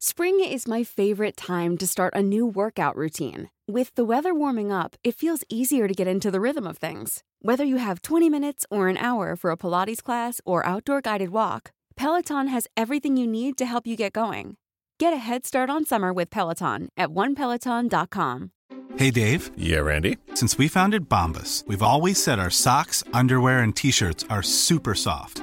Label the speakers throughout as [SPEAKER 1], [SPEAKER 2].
[SPEAKER 1] Spring is my favorite time to start a new workout routine. With the weather warming up, it feels easier to get into the rhythm of things. Whether you have 20 minutes or an hour for a Pilates class or outdoor guided walk, Peloton has everything you need to help you get going. Get a head start on summer with Peloton at onepeloton.com.
[SPEAKER 2] Hey Dave,
[SPEAKER 3] Yeah, Randy.
[SPEAKER 2] since we founded Bombus, we've always said our socks, underwear, and t shirts are super soft.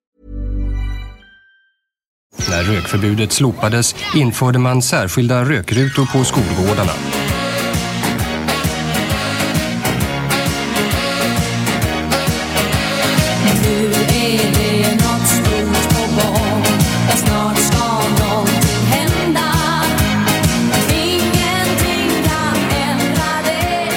[SPEAKER 4] När rökförbudet slopades införde man särskilda rökrutor på skolgårdarna.
[SPEAKER 5] Nu är det nåt stort på gång och snart ska någonting hända. Ingenting kan ändra det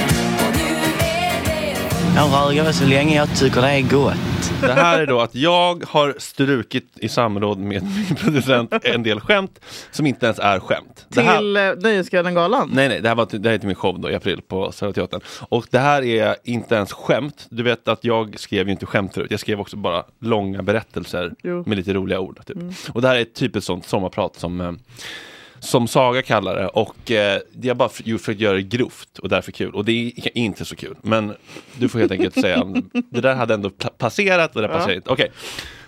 [SPEAKER 5] och nu är det
[SPEAKER 6] Jag röker så länge jag tycker det är gott.
[SPEAKER 7] Det här är då att jag har strukit i samråd med min producent en del skämt som inte ens är skämt. Det här,
[SPEAKER 8] Till eh, Nöjesguiden-galan?
[SPEAKER 7] nej, nej, det här, var, till- det här är till min show då i april på Södra Teatern. Och det här är inte ens skämt. Du vet att jag skrev ju inte skämt förut. Jag skrev också bara långa berättelser
[SPEAKER 8] Jo. Mm.
[SPEAKER 7] med lite roliga ord. Typ. Och det här är ett typiskt sånt sommarprat som eh, som Saga kallar det och eh, jag bara för, försökt göra det grovt och därför kul och det är inte så kul men du får helt enkelt säga om det där hade ändå pla- passerat och det där passerat inte. Okej,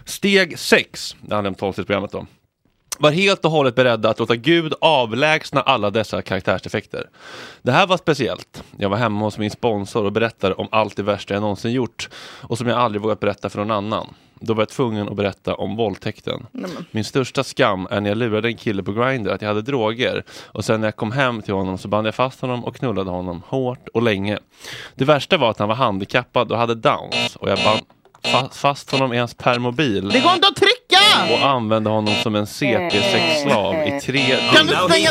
[SPEAKER 7] steg 6, det handlar om tolvstegsprogrammet då. Var helt och hållet beredda att låta Gud avlägsna alla dessa karaktärseffekter. Det här var speciellt. Jag var hemma hos min sponsor och berättade om allt det värsta jag någonsin gjort och som jag aldrig vågat berätta för någon annan. Då var jag tvungen att berätta om våldtäkten. Min största skam är när jag lurade en kille på Grindr att jag hade droger och sen när jag kom hem till honom så band jag fast honom och knullade honom hårt och länge. Det värsta var att han var handikappad och hade downs och jag band fa- fast honom i hans permobil
[SPEAKER 8] Det går inte att trycka!
[SPEAKER 7] och använde honom som en CP-sexslav i tre
[SPEAKER 3] Oh,
[SPEAKER 8] Kan du stänga...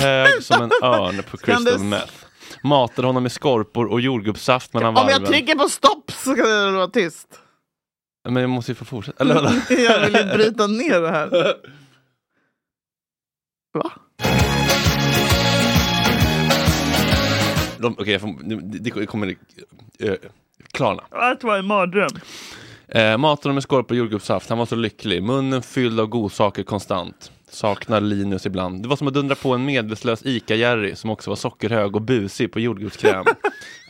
[SPEAKER 7] hög som en örn på
[SPEAKER 8] Kan du
[SPEAKER 7] crystal
[SPEAKER 8] s-
[SPEAKER 7] meth. Matade honom med skorpor och jordgubbssaft mellan
[SPEAKER 8] Om jag
[SPEAKER 7] varven.
[SPEAKER 8] trycker på stopp så kan det vara tyst.
[SPEAKER 7] Men jag måste ju få fortsätta. Eller vadå?
[SPEAKER 8] Jag vill ju bryta ner det här. Va?
[SPEAKER 7] De- Okej, jag får- det- det kommer eh, klarna.
[SPEAKER 8] Det var en mardröm.
[SPEAKER 7] Eh, matade honom med skorpor och jordgubbssaft. Han var så lycklig. Munnen fylld av godsaker konstant. Saknar Linus ibland. Det var som att dundra på en medvetslös ICA-Jerry som också var sockerhög och busig på jordgubbskräm.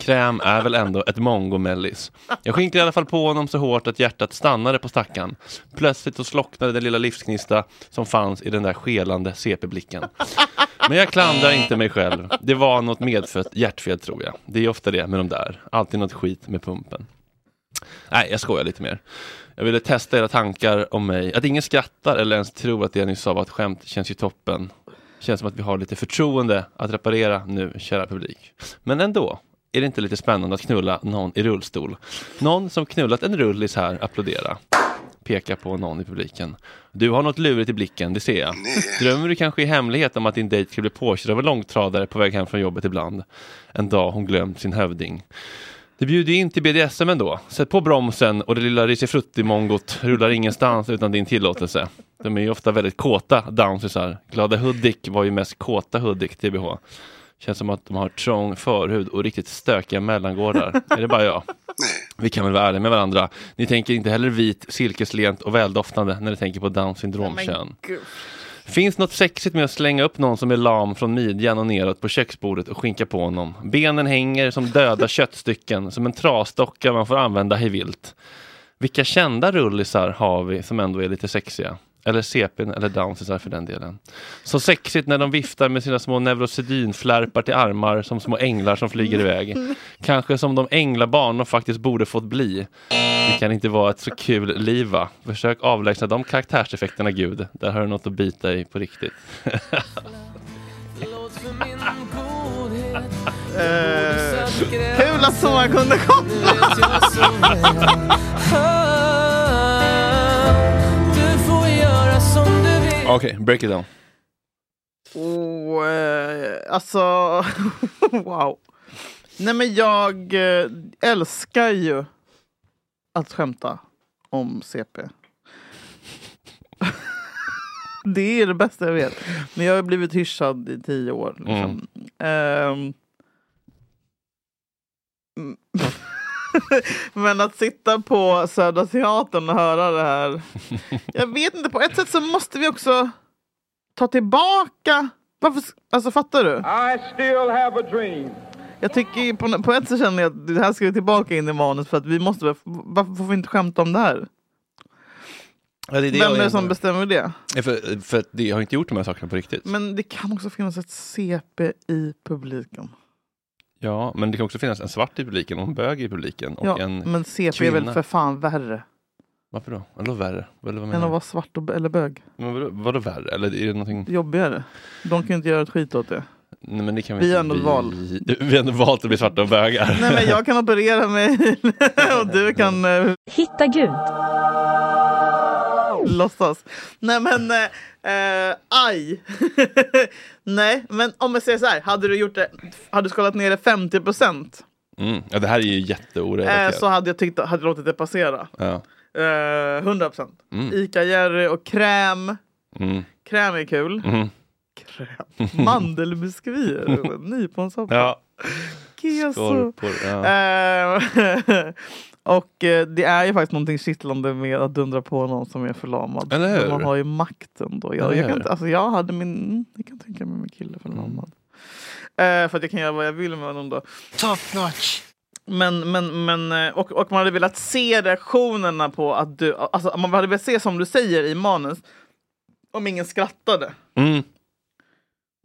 [SPEAKER 7] Kräm är väl ändå ett mongomellis. Jag skinkade i alla fall på honom så hårt att hjärtat stannade på stackaren. Plötsligt så slocknade den lilla livsgnista som fanns i den där skelande CP-blicken. Men jag klandrar inte mig själv. Det var något medfött hjärtfel tror jag. Det är ofta det med de där. Alltid något skit med pumpen. Nej, jag skojar lite mer. Jag ville testa era tankar om mig. Att ingen skrattar eller ens tror att det jag nyss sa var ett skämt känns ju toppen. Känns som att vi har lite förtroende att reparera nu, kära publik. Men ändå, är det inte lite spännande att knulla någon i rullstol? Någon som knullat en rullis här, applådera. Peka på någon i publiken. Du har något lurigt i blicken, det ser jag. Drömmer du kanske i hemlighet om att din dejt ska bli påkörd av en långtradare på väg hem från jobbet ibland? En dag hon glömt sin hövding. Det bjuder ju in till BDSM ändå. Sätt på bromsen och det lilla risifrutti-mongot rullar ingenstans utan din tillåtelse. De är ju ofta väldigt kåta downsisar. Glada Hudik var ju mest kåta Hudik, TBH. Känns som att de har trång förhud och riktigt stökiga mellangårdar. Är det bara jag? Vi kan väl vara ärliga med varandra. Ni tänker inte heller vit, silkeslent och väldoftande när ni tänker på down syndromkön.
[SPEAKER 8] gud.
[SPEAKER 7] Finns något sexigt med att slänga upp någon som är lam från midjan och neråt på köksbordet och skinka på honom? Benen hänger som döda köttstycken, som en trasdocka man får använda hej vilt. Vilka kända rullisar har vi som ändå är lite sexiga? Eller CPn eller downsisar för den delen. Så sexigt när de viftar med sina små neurosedynflärpar till armar som små änglar som flyger iväg. Kanske som de änglabarn de faktiskt borde fått bli. Det kan inte vara ett så kul liv va? Försök avlägsna de karaktärseffekterna gud. Där har du något att bita i på riktigt.
[SPEAKER 8] Eh, kul att så många kunde komma.
[SPEAKER 7] Okej, break it down.
[SPEAKER 8] Oh, eh, alltså, wow.
[SPEAKER 7] Nej men jag eh, älskar ju att skämta om CP. det är det bästa jag vet. Men jag har blivit hyschad i tio år. Liksom. Ehm. Mm. men att sitta på Södra Teatern och höra det här. Jag vet inte, på ett sätt så måste vi också ta tillbaka... Varför, s- alltså fattar du?
[SPEAKER 9] I still have a dream.
[SPEAKER 7] Jag tycker ju på, på ett sätt känner jag att det här ska vi tillbaka in i manus för att vi måste väl- Varför får vi inte skämta om det här?
[SPEAKER 3] Ja, det är det
[SPEAKER 7] Vem
[SPEAKER 3] jag
[SPEAKER 7] är det som
[SPEAKER 3] undrar.
[SPEAKER 7] bestämmer det?
[SPEAKER 3] Ja, För, för att det har inte gjort de här sakerna på riktigt.
[SPEAKER 7] Men det kan också finnas ett CP i publiken.
[SPEAKER 3] Ja, men det kan också finnas en svart i publiken och en bög i publiken. Och
[SPEAKER 7] Ja,
[SPEAKER 3] en...
[SPEAKER 7] men CP är
[SPEAKER 3] kvinna.
[SPEAKER 7] väl för fan värre
[SPEAKER 3] Varför då? Eller värre? Eller vad
[SPEAKER 7] än
[SPEAKER 3] menar
[SPEAKER 7] att
[SPEAKER 3] du?
[SPEAKER 7] vara svart och, eller bög.
[SPEAKER 3] Men vadå, vadå värre? Eller är det någonting...
[SPEAKER 7] Jobbigare. De kan ju inte göra ett skit åt det.
[SPEAKER 3] Nej, men det kan
[SPEAKER 7] Vi
[SPEAKER 3] inte-
[SPEAKER 7] har ändå ett val.
[SPEAKER 3] Vi har ändå valt att bli svarta och bögar.
[SPEAKER 7] Nej men jag kan operera mig och du kan eh,
[SPEAKER 10] Hitta Gud.
[SPEAKER 7] låtsas. Nej men, eh, eh, aj. Nej, men om jag säger så här. Hade du gjort det, hade du skalat ner det 50 procent
[SPEAKER 3] Mm. Ja, det här är ju
[SPEAKER 7] Eh,
[SPEAKER 3] jätteorelaterat.
[SPEAKER 7] så hade jag tyckt, hade låtit det passera.
[SPEAKER 3] Ja.
[SPEAKER 7] Eh, 100 procent.
[SPEAKER 3] Mm.
[SPEAKER 7] Ica-Jerry och kräm.
[SPEAKER 3] Mm.
[SPEAKER 7] Kräm är kul.
[SPEAKER 3] Mm.
[SPEAKER 7] Kräm. Mandelbiskvier. Nyponsoppa.
[SPEAKER 3] Ja,
[SPEAKER 7] Keso.
[SPEAKER 3] skorpor. Ja.
[SPEAKER 7] Eh, och eh, det är ju faktiskt någonting kittlande med att dundra på någon som är förlamad.
[SPEAKER 3] Eller hur?
[SPEAKER 7] Men Man har ju makten då.
[SPEAKER 3] Eller
[SPEAKER 7] Jag, jag, kan
[SPEAKER 3] hur?
[SPEAKER 7] inte, alltså jag hade min, mm, jag kan tänka mig min kille förlamad.
[SPEAKER 3] Mm.
[SPEAKER 7] Eh, för att jag kan göra vad jag vill med honom då.
[SPEAKER 11] Top notch.
[SPEAKER 7] Men, men, men, eh, och, och man hade velat se reaktionerna på att du... Alltså, man hade velat se som du säger i manus, om ingen skrattade.
[SPEAKER 3] Mm.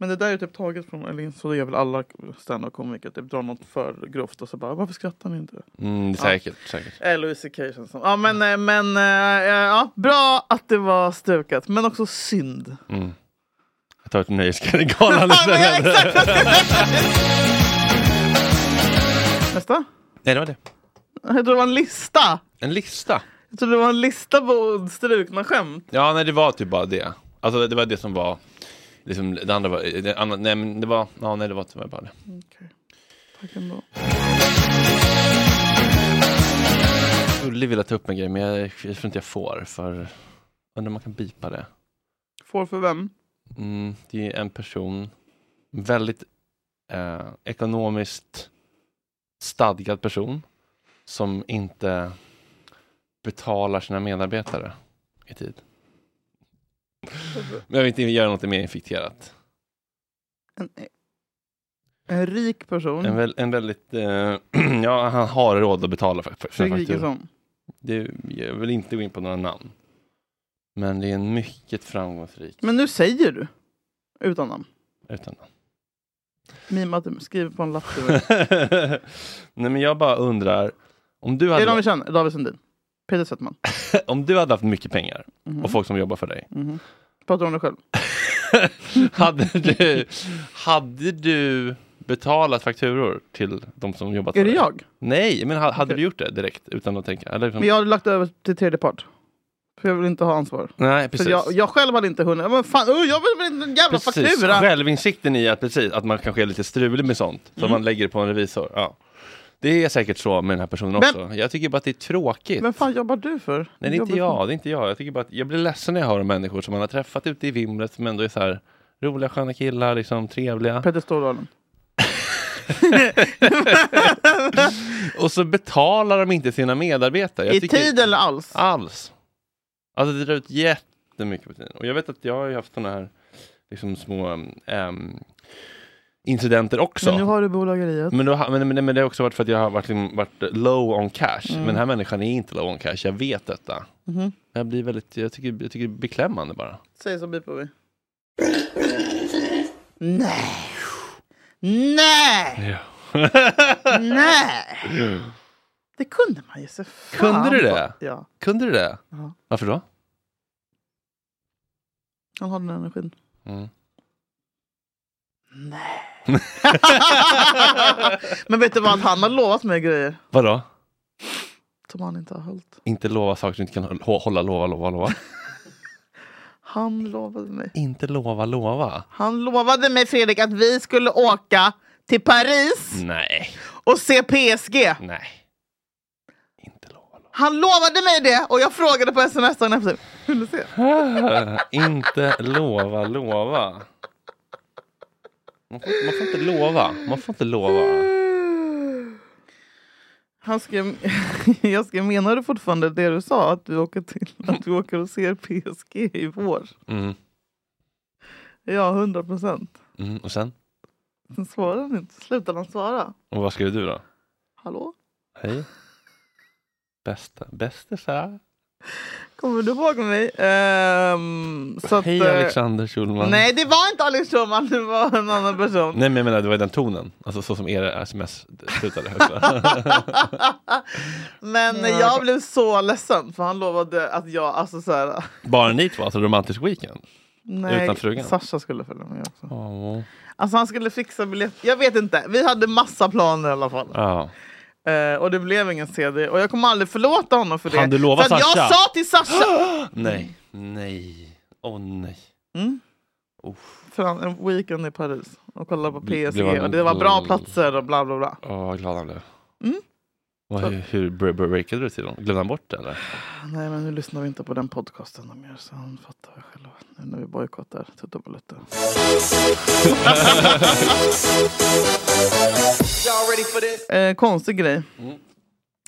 [SPEAKER 7] Men det där är typ taget från, eller så gör väl alla standup-komiker, typ drar något för grovt och så bara varför skrattar ni inte?
[SPEAKER 3] Mm, säkert, säkert.
[SPEAKER 7] Eh, Louis CK känns som. Ja men, eh, men eh, eh, ja, bra att det var stukat, men också synd.
[SPEAKER 3] Mm. Jag tar ett Nöjesgalan istället.
[SPEAKER 7] Nästa?
[SPEAKER 3] Nej, det var det.
[SPEAKER 7] Jag trodde det var en lista!
[SPEAKER 3] En lista.
[SPEAKER 7] Jag trodde det var en lista på strukna skämt.
[SPEAKER 3] Ja, nej, det var typ bara det. Alltså, det var det som var... Liksom, det andra var... Det andra, nej, men det var... Ja, nej, det var tyvärr bara det.
[SPEAKER 7] Tack ändå.
[SPEAKER 3] Jag skulle vilja ta upp en grej, men jag, jag tror inte jag får, för... Undrar om man kan bipa det.
[SPEAKER 7] Får för vem?
[SPEAKER 3] Mm, det är en person, en väldigt eh, ekonomiskt stadgad person som inte betalar sina medarbetare i tid. Men jag vill inte göra något mer infekterat.
[SPEAKER 7] En, en rik person.
[SPEAKER 3] En, väl, en väldigt... Eh, ja, han har råd att betala för, för sina
[SPEAKER 7] Fredrik
[SPEAKER 3] fakturor.
[SPEAKER 7] Wikingsson.
[SPEAKER 3] Det- Jag vill inte gå in på några namn. Men det är en mycket framgångsrik...
[SPEAKER 7] Men nu säger du. Utan namn.
[SPEAKER 3] Utan
[SPEAKER 7] Mima att du skriver på en lapp. till mig.
[SPEAKER 3] Nej men jag bara undrar, om du
[SPEAKER 7] Är det
[SPEAKER 3] hade,
[SPEAKER 7] de vi känner? David Sundin. Peter Settman.
[SPEAKER 3] om du hade haft mycket pengar Liksom-
[SPEAKER 7] Mhm.
[SPEAKER 3] och folk som jobbar för dig,
[SPEAKER 7] Mhm. Pratar om dig själv.
[SPEAKER 3] hade du, hade du betalat fakturor till de som jobbat
[SPEAKER 7] Är
[SPEAKER 3] för
[SPEAKER 7] det
[SPEAKER 3] dig?
[SPEAKER 7] jag?
[SPEAKER 3] Nej, men ha- hade
[SPEAKER 7] Okej.
[SPEAKER 3] du gjort det direkt utan att tänka? Eller liksom,
[SPEAKER 7] Men jag har lagt över till tredje part. För jag vill inte ha ansvar.
[SPEAKER 3] Nej,
[SPEAKER 7] För
[SPEAKER 3] precis.
[SPEAKER 7] jag, jag själv hade inte hunnit. Men fan, oh, jag vill inte en jävla
[SPEAKER 3] precis.
[SPEAKER 7] faktura!
[SPEAKER 3] Självinsikten i att, precis, att man kanske är lite strulig med sånt,
[SPEAKER 7] Mm.
[SPEAKER 3] så man lägger det på en revisor. Ja. Det är säkert så med den här personen
[SPEAKER 7] Men-
[SPEAKER 3] också. Jag tycker bara att det är tråkigt.
[SPEAKER 7] Vem fan jobbar du för?
[SPEAKER 3] Nej, det är inte
[SPEAKER 7] Jobbar
[SPEAKER 3] jag. Det är inte jag. Jag, tycker bara att jag blir ledsen när jag hör om människor som man har träffat ute i vimlet som ändå är så här roliga, sköna killar, liksom trevliga.
[SPEAKER 7] för- Petter Stordalen.
[SPEAKER 3] Och så betalar de inte sina medarbetare. Jag
[SPEAKER 7] I
[SPEAKER 3] tycker-
[SPEAKER 7] tid eller alls?
[SPEAKER 3] Alls. Alltså det drar ut jättemycket på tiden. Och jag vet att jag har ju haft sådana här liksom små ehm, incidenter också.
[SPEAKER 7] Men nu har du bolageriet.
[SPEAKER 3] Men, då, ha- men, men, men det har också varit för att jag har varit, liksom, varit low on cash.
[SPEAKER 7] Mm.
[SPEAKER 3] Men den här människan är inte low on cash. Jag vet detta.
[SPEAKER 7] Mhm.
[SPEAKER 3] Jag, blir väldigt, jag, tycker, jag tycker det är beklämmande bara.
[SPEAKER 7] Säg så bipar vi. Nej! Nej! Nej! Det kunde man ju se fan
[SPEAKER 3] Kunde du
[SPEAKER 7] på.
[SPEAKER 3] det?
[SPEAKER 7] Ja,
[SPEAKER 3] Kunde du det?
[SPEAKER 7] Ja.
[SPEAKER 3] Varför då?
[SPEAKER 7] han har den energin.
[SPEAKER 3] Mm.
[SPEAKER 7] Men vet du vad, han har lovat mig grejer
[SPEAKER 3] Vadå?
[SPEAKER 7] som han inte har hållit.
[SPEAKER 3] Inte lova saker du inte kan hå- hålla, lova, lova, lova.
[SPEAKER 7] Han lovade mig.
[SPEAKER 3] inte lova, lova.
[SPEAKER 7] Han lovade mig Fredrik att vi skulle åka till Paris
[SPEAKER 3] Nej,
[SPEAKER 7] och se PSG.
[SPEAKER 3] nej.
[SPEAKER 7] Han lovade mig det och jag frågade på sms dagen efter. Vill du se?
[SPEAKER 3] inte lova, lova. Man får, man får inte lova. Man får inte lova.
[SPEAKER 7] Han skrev, jag skrev, menar du fortfarande det du sa? Att du åker, till, att du åker och ser PSG i vår?
[SPEAKER 3] Mm.
[SPEAKER 7] Ja, 100 procent.
[SPEAKER 3] Mm. Och sen?
[SPEAKER 7] Sen svarade han inte. Slutade han svara?
[SPEAKER 3] Och vad skrev du då?
[SPEAKER 7] Hallå?
[SPEAKER 3] Hej. Bästa, bästisar.
[SPEAKER 7] Kommer du ihåg mig? Ehm, så att,
[SPEAKER 3] Hej
[SPEAKER 7] eh,
[SPEAKER 3] Alexander Schulman.
[SPEAKER 7] Nej, det var inte Alex Schulman. Det var en annan person.
[SPEAKER 3] Nej men jag menar det var den tonen. Alltså så som era sms slutade också.
[SPEAKER 7] Men jag blev så ledsen för han lovade att jag, alltså så här,
[SPEAKER 3] Bara ni två, alltså romantisk weekend.
[SPEAKER 7] nej,
[SPEAKER 3] Utan frugan.
[SPEAKER 7] Sasha skulle följa med också.
[SPEAKER 3] Ja.
[SPEAKER 7] Alltså han skulle fixa biljett. Jag vet inte, vi hade massa planer i alla fall.
[SPEAKER 3] Ja.
[SPEAKER 7] Eh, och det blev ingen CD och jag kommer aldrig förlåta honom för det.
[SPEAKER 3] Kan du lova
[SPEAKER 7] för att jag
[SPEAKER 3] Sasha?
[SPEAKER 7] sa till Sasha, Mm.
[SPEAKER 3] Nej. Nej. Åh nej.
[SPEAKER 7] för han, en weekend i Paris och kolla på
[SPEAKER 3] Bli-
[SPEAKER 7] PSG
[SPEAKER 3] blev han-
[SPEAKER 7] och det var bra platser och bla bla bla.
[SPEAKER 3] Åh vad glad han blev.
[SPEAKER 7] Mm.
[SPEAKER 3] Vad- Hur, hur bre- bre- breakade du till honom? Glömde han bort det eller?
[SPEAKER 7] Nej men nu lyssnar vi inte på den podcasten de gör så han fattar väl själva. Nu när vi bojkottar Tutte och Balutte. eh, konstig grej.
[SPEAKER 3] Mm.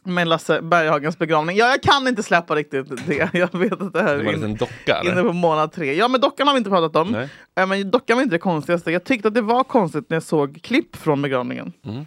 [SPEAKER 7] Med Lasse Berghagens begravning. Ja, jag kan inte släppa riktigt det. Jag vet att det här
[SPEAKER 3] Det var en
[SPEAKER 7] är in,
[SPEAKER 3] liten docka
[SPEAKER 7] inne
[SPEAKER 3] eller?
[SPEAKER 7] på månad tre. Ja, men dockan har vi inte pratat om.
[SPEAKER 3] Nej.
[SPEAKER 7] Eh, men dockan var inte det konstigaste. Jag tyckte att det var konstigt när jag såg klipp från begravningen.
[SPEAKER 3] Mm.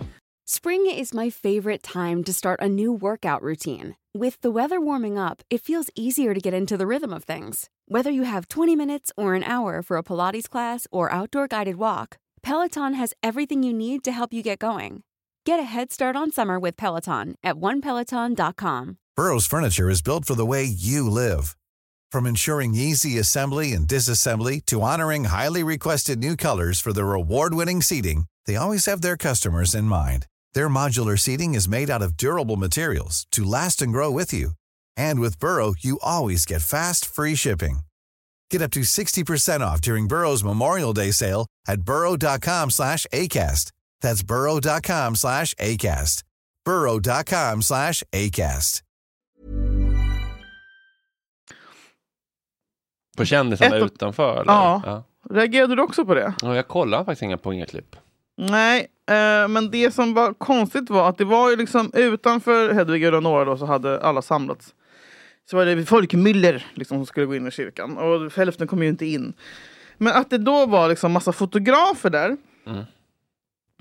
[SPEAKER 1] Spring is my favorite time to start a new workout routine. With the weather warming up, it feels easier to get into the rhythm of things. Whether you have 20 minutes or an hour for a Pilates class or outdoor guided walk, Peloton has everything you need to help you get going. Get a head start on summer with Peloton at onepeloton.com.
[SPEAKER 10] Burrow's furniture is built for the way you live. From ensuring easy assembly and disassembly to honoring highly requested new colors for their award-winning seating, they always have their customers in mind. Their modular seating is made out of durable materials to last and grow with you. And with Burrow, you always get fast, free shipping. Get up to 60% off during Burrow's Memorial Day sale at burrow.com slash ACAST. That's burrow.com slash ACAST. burrow.com slash ACAST.
[SPEAKER 3] På kändisarna
[SPEAKER 7] Ett och-
[SPEAKER 3] utanför? Eller?
[SPEAKER 7] Ja. Reagerade du också på det?
[SPEAKER 3] Ja, Jag kollar faktiskt inga på inga klipp.
[SPEAKER 7] Nej, eh, men det som var konstigt var att det var ju liksom utanför Hedvig och Leonora då så hade alla samlats. Så var det folkmyller liksom som skulle gå in i kyrkan och hälften kom ju inte in. Men att det då var liksom massa fotografer där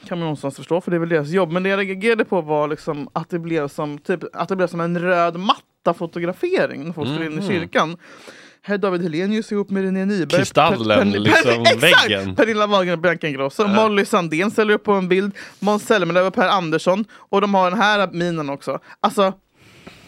[SPEAKER 7] kan man någonstans förstå för det är väl deras jobb. Men det jag reagerade på var liksom att det blev som, typ, att det blev som en röd matta fotografering när folk skulle in i kyrkan. Här är David Hellenius ihop med René Nyberg.
[SPEAKER 3] Kristallen, liksom,
[SPEAKER 7] exakt!
[SPEAKER 3] väggen.
[SPEAKER 7] Pernilla Wahlgren och Bianca Ingrosso. Molly Sandén ställer upp på en bild. Måns Zelmerlöw och Per Andersson. Och de har den här minen också. Alltså,
[SPEAKER 3] Får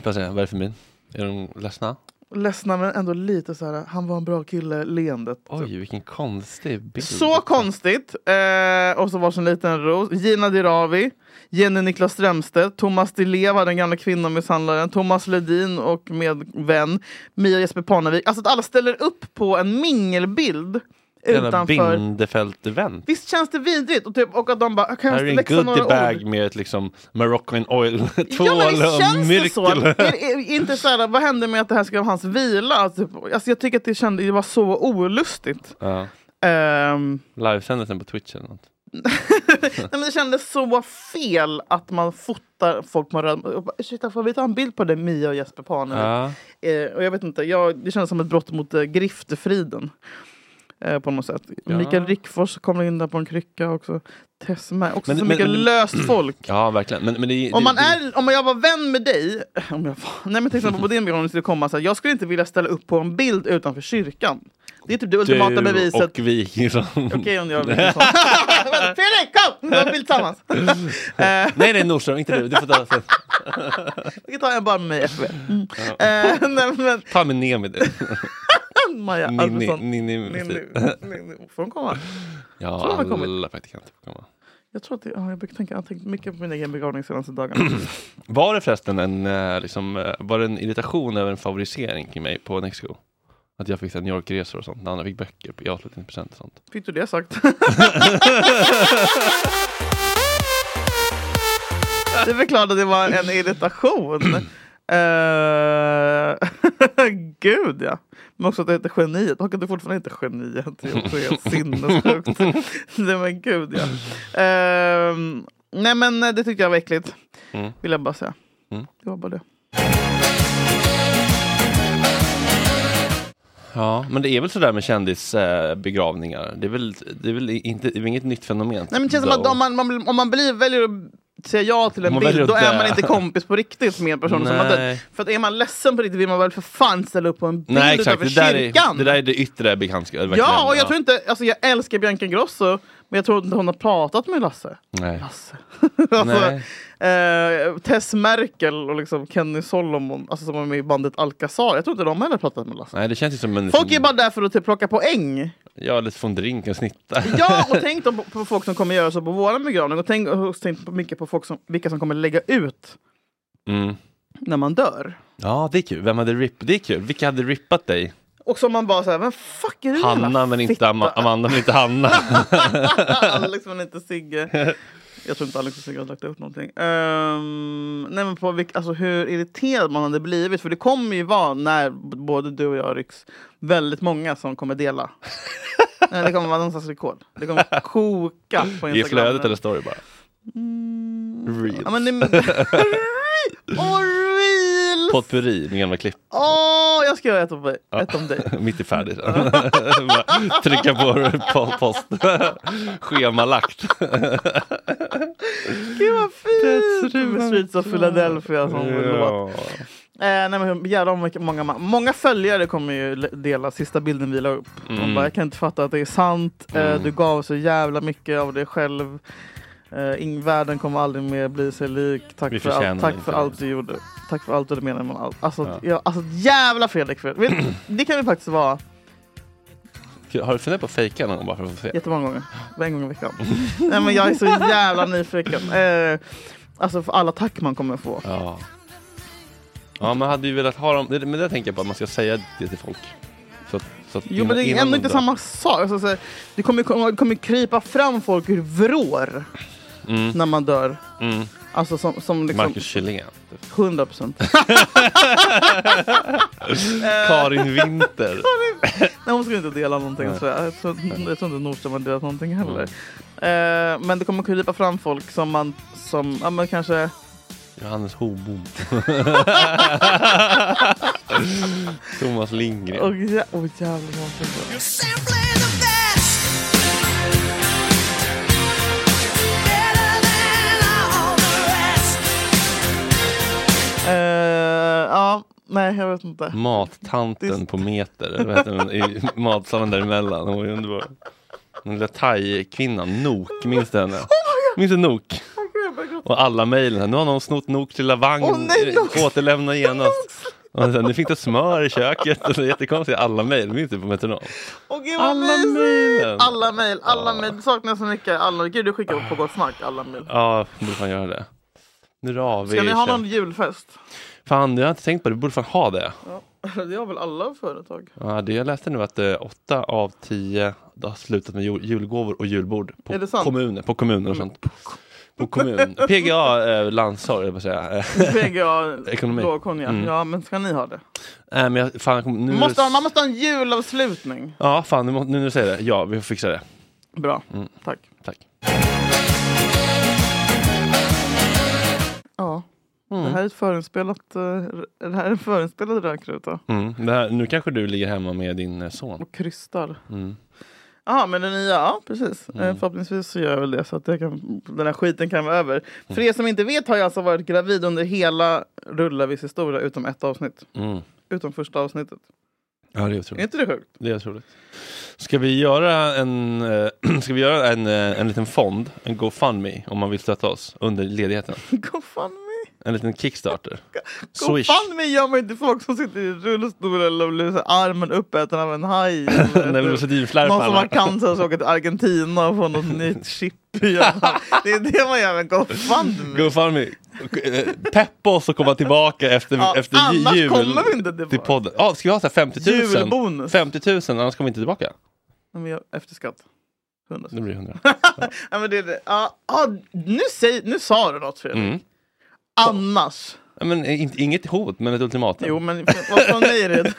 [SPEAKER 3] jag säga, vad är det för min? Är de ledsna?
[SPEAKER 7] ledsna men ändå lite så här. Han var en bra kille, leendet. typ.
[SPEAKER 3] Oj, vilken konstig bild.
[SPEAKER 7] Så konstigt! Eh, och så varsin liten ros. Gina Dirawi, Jenny Niklas Strömstedt, Thomas Di Leva, den gamla kvinnomisshandlaren, Thomas Ledin och med vän, Mia Jesper Parnevik. Alltså att alla ställer upp på en mingelbild
[SPEAKER 3] Jävla
[SPEAKER 7] utanför.
[SPEAKER 3] Bindefeld-event.
[SPEAKER 7] Visst känns det vidrigt? Och, typ, och att de bara, kan
[SPEAKER 3] Här
[SPEAKER 7] jag
[SPEAKER 3] är en
[SPEAKER 7] växa några ord?
[SPEAKER 3] goodiebag med ett liksom Moroccan oil tvål
[SPEAKER 7] Ja men det
[SPEAKER 3] och
[SPEAKER 7] känns det så.
[SPEAKER 3] myrkel.
[SPEAKER 7] Är- är- Inte så här, vad hände med att det här ska vara hans vila? Alltså, alltså jag tycker att det kändes, det var så olustigt.
[SPEAKER 3] Ja,
[SPEAKER 7] Ehm,
[SPEAKER 3] livesändes den på Twitch eller något.
[SPEAKER 7] nej men det kändes så fel att man fotar folk med röd... och bara, Ursäkta, får vi ta en bild på det Mia och Jesper Parnevik?
[SPEAKER 3] Ja.
[SPEAKER 7] Eh, och jag vet inte, jag, det känns som ett brott mot eh, griftefriden. Eh, på något sätt.
[SPEAKER 3] Ja.
[SPEAKER 7] Mikael Rickfors kommer in där på en krycka också. Tess med. Också
[SPEAKER 3] Men-
[SPEAKER 7] så
[SPEAKER 3] men-
[SPEAKER 7] mycket
[SPEAKER 3] men-
[SPEAKER 7] löst folk.
[SPEAKER 3] ja, verkligen. Men, men det,
[SPEAKER 7] Om,
[SPEAKER 3] det,
[SPEAKER 7] man
[SPEAKER 3] det,
[SPEAKER 7] är, om jag var vän med dig, om jag var, nej men till exempel på din begravning skulle det komma så här, jag skulle inte vilja ställa upp på en bild utanför kyrkan. Det är typ det ultimata beviset.
[SPEAKER 3] och Wikingsson. Okej
[SPEAKER 7] om jag vill. Fredrik, kom! Vi tar en bild tillsammans. Eh,
[SPEAKER 3] nej, nej Nordström, inte du. Du får ta sen.
[SPEAKER 7] Vi kan ta en bara med mig FB. Mm. Eh, nej, men,
[SPEAKER 3] Ta med Nemi du.
[SPEAKER 7] Maja
[SPEAKER 3] Ninni,
[SPEAKER 7] Alfredsson.
[SPEAKER 3] Ninni med
[SPEAKER 7] Ninni,
[SPEAKER 3] flit.
[SPEAKER 7] Ninni. Får hon komma? Så
[SPEAKER 3] Ja,
[SPEAKER 7] de har kommit.
[SPEAKER 3] alla praktikanter får komma.
[SPEAKER 7] Jag tror att det, ja, jag brukar tänka, jag har tänkt mycket på min egen begravning senaste dagarna.
[SPEAKER 3] Var det förresten en, eh, liksom, eh, var det en irritation över en favorisering kring mig på Nextgo? Att jag fick så här New York-resor och sånt, när andra fick böcker i avslutningspresent och sånt.
[SPEAKER 7] Fick du det sagt? det är klart att det var en irritation. Eh, Gud ja. Men också att det heter geniet. Har inte fortfarande inte geniet? Det är också helt sinnessjukt. Nej men gud ja. Eh, nej men eh, det tyckte jag var äckligt.
[SPEAKER 3] Mm.
[SPEAKER 7] Vill jag bara säga.
[SPEAKER 3] Mm.
[SPEAKER 7] Det var bara det.
[SPEAKER 3] Ja, men det är väl sådär med kändisbegravningar. Det är väl, det är väl inte, det är väl inget nytt fenomen. typ
[SPEAKER 7] Nej men det känns som
[SPEAKER 3] though.
[SPEAKER 7] att om man, man, om man blir, väljer att säga ja till en
[SPEAKER 3] Om man väljer
[SPEAKER 7] bild,
[SPEAKER 3] att
[SPEAKER 7] då är
[SPEAKER 3] dö.
[SPEAKER 7] man inte kompis på riktigt med personen som har dött.
[SPEAKER 3] Nej.
[SPEAKER 7] För att är man ledsen på riktigt vill man väl för fan ställa upp på en bild
[SPEAKER 3] Nej exakt,
[SPEAKER 7] utanför
[SPEAKER 3] det där, är,
[SPEAKER 7] kyrkan?
[SPEAKER 3] det där är det yttre bekantska. verkligen.
[SPEAKER 7] ja, och jag tror inte, alltså jag älskar Bianca Ingrosso, men jag tror inte hon har pratat med Lasse.
[SPEAKER 3] Nej.
[SPEAKER 7] Lasse. alltså,
[SPEAKER 3] Nej.
[SPEAKER 7] eh, Tess Merkel och liksom Kenny Solomon, alltså som är med i bandet Alcazar, jag tror inte de heller pratat med Lasse.
[SPEAKER 3] Nej, det känns ju som en... liksom,
[SPEAKER 7] Folk är bara där för att typ plocka poäng.
[SPEAKER 3] Ja, lite från drinken snitta.
[SPEAKER 7] Ja, och tänk då på, på folk som kommer göra så på våran begravning. Och tänk, och tänk på mycket på folk som, vilka som kommer lägga ut
[SPEAKER 3] Mm.
[SPEAKER 7] när man dör.
[SPEAKER 3] Ja, det är kul. Vem hade rippat? Det är kul. Vilka hade rippat dig?
[SPEAKER 7] Och som man bara såhär, vem fuck är du
[SPEAKER 3] Hanna,
[SPEAKER 7] jävla
[SPEAKER 3] men
[SPEAKER 7] fitta?"
[SPEAKER 3] inte Ama- Amanda, men inte Hanna.
[SPEAKER 7] Alex men inte Sigge. Jag tror inte Alex och Sigge har lagt ut någonting. Ehm, nej men på vilk, alltså hur irriterad man hade blivit. För det kommer ju vara när b- både du och jag rycks. Väldigt många som kommer dela. Nej, det kommer vara någon slags rekord. Det kommer koka på Instagram.
[SPEAKER 3] I flödet eller story bara.
[SPEAKER 7] Ja,
[SPEAKER 3] Reels.
[SPEAKER 7] men det... Åh, reels!
[SPEAKER 3] Potpurri med gamla klipp.
[SPEAKER 7] Åh, jag ska göra ett om dig.
[SPEAKER 3] Ja.
[SPEAKER 7] Ett om dig.
[SPEAKER 3] Mitt i färdigt. Bara Trycka på po- post. Schemalagt.
[SPEAKER 7] Gud vad fint!
[SPEAKER 3] That's
[SPEAKER 7] Med Streets of Philadelphia som låt.
[SPEAKER 3] Ja.
[SPEAKER 7] Eh, nej, men jävlar vad mycket- många, ma- många följare kommer ju le- dela sista bilden vi la upp. De
[SPEAKER 3] Mm.
[SPEAKER 7] bara, jag kan inte fatta att det är sant. Eh, du gav så jävla mycket av dig själv. Eh, ing- världen kommer aldrig mer bli sig lik.
[SPEAKER 3] Vi
[SPEAKER 7] Tack, för, all,
[SPEAKER 3] förtjänar
[SPEAKER 7] tack
[SPEAKER 3] inte
[SPEAKER 7] för
[SPEAKER 3] det.
[SPEAKER 7] allt du gjorde. Tack för allt du menade med allt. Alltså,
[SPEAKER 3] Ja.
[SPEAKER 7] ja, alltså jävla Fredrik. Fred- Vet- Det kan vi faktiskt vara
[SPEAKER 3] Har du funderat på att fejka någon gång bara för att få se?
[SPEAKER 7] jättemånga gånger. En gång i veckan. Nej, men jag är så jävla nyfiken. Eh, alltså för alla tack man kommer få.
[SPEAKER 3] Ja. Ja, man hade ju velat ha dem. Men det tänker jag på att man ska säga det till folk. Så, att- så att
[SPEAKER 7] Jo men det är
[SPEAKER 3] innan
[SPEAKER 7] ändå
[SPEAKER 3] de
[SPEAKER 7] inte
[SPEAKER 3] drar.
[SPEAKER 7] samma sak. Alltså, så här, det kommer, kommer, kommer krypa fram folk ur vrår
[SPEAKER 3] Mm.
[SPEAKER 7] när man dör.
[SPEAKER 3] Mm.
[SPEAKER 7] Alltså som, som liksom
[SPEAKER 3] Marcus Kjellén. typ.
[SPEAKER 7] 100 procent. Eh.
[SPEAKER 3] Karin Winter.
[SPEAKER 7] Nej hon skulle inte dela någonting. Så jag, jag, tror, jag tror inte Nordström har delat någonting heller.
[SPEAKER 3] Mm.
[SPEAKER 7] Eh, men det kommer krypa fram folk som man, som, ja men kanske
[SPEAKER 3] Johannes Hobom. Thomas Lindgren.
[SPEAKER 7] Åh jä- åh, jävlar vad fint. Eh, Ja, nej jag vet inte.
[SPEAKER 3] Mm. Mattanten på meter, eller vad heter hon, i matsalen däremellan. Hon var ju underbar. Den lilla thai-kvinnan, Nok, minns du henne? Minns du Nok? Och alla mejlen, nu har någon snott Nok till Lavang,
[SPEAKER 7] Åh, nej, Nok.
[SPEAKER 3] eh, återlämna genast. Och sen, nu finns det smör i köket. Och Det är jättekonstigt, alla mejl, minns du på Metronome?
[SPEAKER 7] Åh gud vad
[SPEAKER 3] Alla
[SPEAKER 7] mysigt!
[SPEAKER 3] mejlen!
[SPEAKER 7] Alla mejl, alla mejl. Det saknas så mycket. Alla, gud du skickar upp på Gott Snack alla mejl.
[SPEAKER 3] Ja, borde fan göra det. Nu drar vi.
[SPEAKER 7] Ska ni ha
[SPEAKER 3] kör.
[SPEAKER 7] någon julfest?
[SPEAKER 3] Fan, jag har inte tänkt på det, vi borde fan ha det.
[SPEAKER 7] Det har väl alla företag?
[SPEAKER 3] Ja, det jag läste nu att eh, åtta av tio det har slutat med jul- julgåvor och julbord
[SPEAKER 7] Är det
[SPEAKER 3] på
[SPEAKER 7] sant?
[SPEAKER 3] kommuner, på kommuner och sånt. På kommun. PGA, eh, landssorg, vad säger jag? Eh,
[SPEAKER 7] PGA,
[SPEAKER 3] Ekonomi.
[SPEAKER 7] lågkonja.
[SPEAKER 3] Mm.
[SPEAKER 7] Ja men ska ni ha det?
[SPEAKER 3] Nej, men jag, fan, jag kommer- nu
[SPEAKER 7] Måste ha, man måste ha en julavslutning.
[SPEAKER 3] Ja, fan, nu, må- nu när du säger det. Ja, vi får fixa det. Mm.
[SPEAKER 7] Bra, tack.
[SPEAKER 3] Tack.
[SPEAKER 7] Ja.
[SPEAKER 3] Mm.
[SPEAKER 7] Det här är ett förinspelat, eh, r- det här är en förinspelad rökruta.
[SPEAKER 3] Mm. Det här, nu kanske du ligger hemma med din eh, son.
[SPEAKER 7] Och krystar.
[SPEAKER 3] Mm.
[SPEAKER 7] Ja, men den nya, ja precis. Eh,
[SPEAKER 3] Mm.
[SPEAKER 7] Förhoppningsvis så gör jag väl det så att jag kan, den här skiten kan vara över. För
[SPEAKER 3] Mm.
[SPEAKER 7] er som inte vet har jag alltså varit gravid under hela Rullavis historia utom ett avsnitt.
[SPEAKER 3] Mm.
[SPEAKER 7] Utom första avsnittet.
[SPEAKER 3] Ja, det är otroligt.
[SPEAKER 7] Är inte det sjukt?
[SPEAKER 3] Det är otroligt. Ska vi göra en, eh, ska vi göra en, eh, en liten fond, en GoFundMe, om man vill stötta oss under ledigheten?
[SPEAKER 7] GoFundMe?
[SPEAKER 3] En liten Kickstarter. Swish.
[SPEAKER 7] GoFundMe gör man ju till folk som sitter i rullstol eller blir så här armen uppäten av en haj. eller
[SPEAKER 3] Nej, men
[SPEAKER 7] Någon som har
[SPEAKER 3] rosedinflärparna.
[SPEAKER 7] cancer och ska åka till Argentina och få något nytt chip i hjärnan. Det är det man gör med GoFundMe.
[SPEAKER 3] GoFundMe. Eh, Peppa oss att komma tillbaka efter,
[SPEAKER 7] Ja,
[SPEAKER 3] efter
[SPEAKER 7] annars
[SPEAKER 3] jul.
[SPEAKER 7] kommer vi inte tillbaka.
[SPEAKER 3] till podden. Ja, ska vi ha så här 50 000?
[SPEAKER 7] Julbonus.
[SPEAKER 3] 50 000, annars kommer vi inte tillbaka.
[SPEAKER 7] Men jag, efter skatt. 100.
[SPEAKER 3] Det blir 100.
[SPEAKER 7] Ja, men det, är det. Ja, ja, nu, säg, nu sa du något Fredrik.
[SPEAKER 3] Mm.
[SPEAKER 7] Annars.
[SPEAKER 3] Ja, Men, eh, inte- inget hot, men ett ultimatum.
[SPEAKER 7] Jo men vad från mig är det?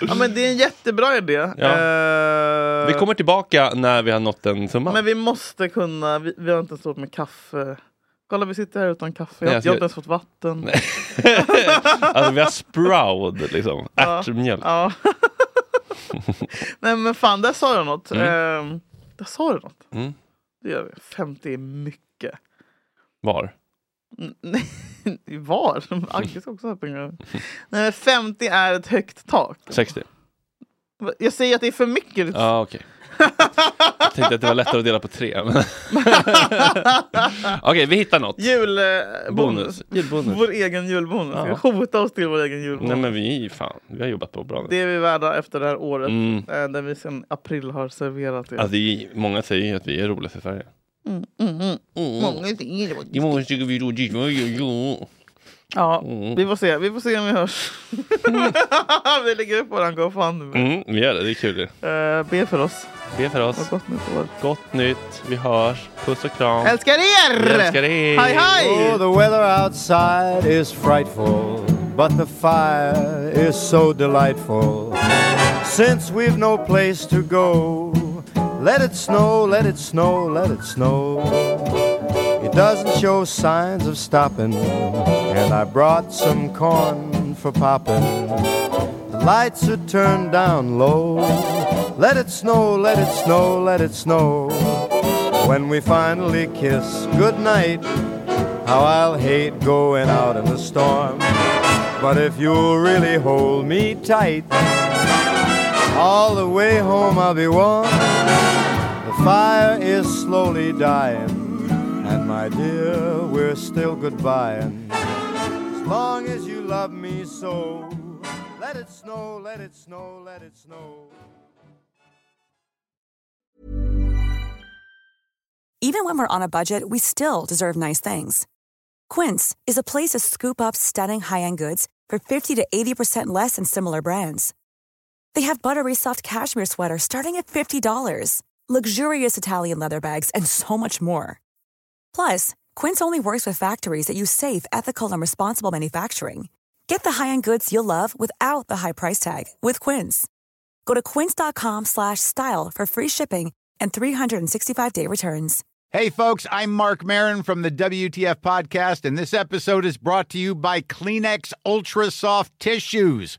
[SPEAKER 7] ja, men det är en jättebra idé.
[SPEAKER 3] Ja.
[SPEAKER 7] Eh,
[SPEAKER 3] Vi kommer tillbaka när vi har nått en summa.
[SPEAKER 7] Men vi måste kunna, vi, vi har inte ens fått med kaffe. Kolla vi sitter här utan kaffe,
[SPEAKER 3] Nej, jag
[SPEAKER 7] jag, jag
[SPEAKER 3] ska-
[SPEAKER 7] har inte ens fått vatten.
[SPEAKER 3] Alltså vi har sproud, liksom. Ärtmjölk.
[SPEAKER 7] Ja. Nej men fan, där sa du något.
[SPEAKER 3] Mm.
[SPEAKER 7] Ehm, där sa du något.
[SPEAKER 3] Mm.
[SPEAKER 7] Det gör vi. 50 är mycket.
[SPEAKER 3] Var?
[SPEAKER 7] Mm, Nej, var? Agge ska också ha pengar. Nej men 50 är ett högt tak.
[SPEAKER 3] 60.
[SPEAKER 7] Jag säger att det är för mycket.
[SPEAKER 3] Ja, okej. Jag tänkte att det var lättare att dela på tre. men- okej, vi hittar något.
[SPEAKER 7] Julbonus.
[SPEAKER 3] Bonus. Julbonus.
[SPEAKER 7] eh, Vår egen julbonus.
[SPEAKER 3] Ja.
[SPEAKER 7] Vi hota oss till vår egen julbonus.
[SPEAKER 3] Nej men vi, fan, vi har jobbat på bra nu.
[SPEAKER 7] Det är vi värda efter det här året.
[SPEAKER 3] Mm.
[SPEAKER 7] Eh, Där vi sedan april har serverat er.
[SPEAKER 3] Alltså, det är, många säger ju att vi är roligast i Sverige.
[SPEAKER 7] Mm, mm, mm. Många säger det.
[SPEAKER 3] Det är många som tycker vi är roligast i Sverige.
[SPEAKER 7] Ja,
[SPEAKER 3] Mm.
[SPEAKER 7] vi får se. Vi får se om vi hörs. vi lägger upp våran GoFundMe.
[SPEAKER 3] Mm, vi gör det, det är kul det.
[SPEAKER 7] Eh, be för oss.
[SPEAKER 3] Be för
[SPEAKER 7] Och
[SPEAKER 3] oss.
[SPEAKER 7] gott nytt år.
[SPEAKER 3] Gott nytt, vi hörs. Puss och kram.
[SPEAKER 7] Älskar er!
[SPEAKER 3] Vi älskar er!
[SPEAKER 7] Hej, hej!
[SPEAKER 6] Oh, the weather outside is frightful, but the fire is so delightful. Since we've no place to go, let it snow, let it snow, let it snow. It doesn't show signs of stopping, and I brought some corn for popping. The lights are turned down low. Let it snow, let it snow, let it snow. When we finally kiss goodnight, how I'll hate going out in the storm. But if you'll really hold me tight, all the way home I'll be warm. The fire is slowly dying, and my dear, we're still goodbying. As long as you love me so, let it snow, let it snow, let it snow.
[SPEAKER 1] Even when we're on a budget, we still deserve nice things. Quince is a place to scoop up stunning high end goods for 50 to 80% less than similar brands. They have buttery soft cashmere sweaters starting at $50, luxurious Italian leather bags, and so much more. Plus, Quince only works with factories that use safe, ethical, and responsible manufacturing. Get the high-end goods you'll love without the high price tag with Quince. Go to quince.com/style slash style for free shipping and 365-day returns.
[SPEAKER 5] Hey, folks, I'm Mark Marin from the WTF Podcast, and this episode is brought to you by Kleenex Ultra Soft Tissues,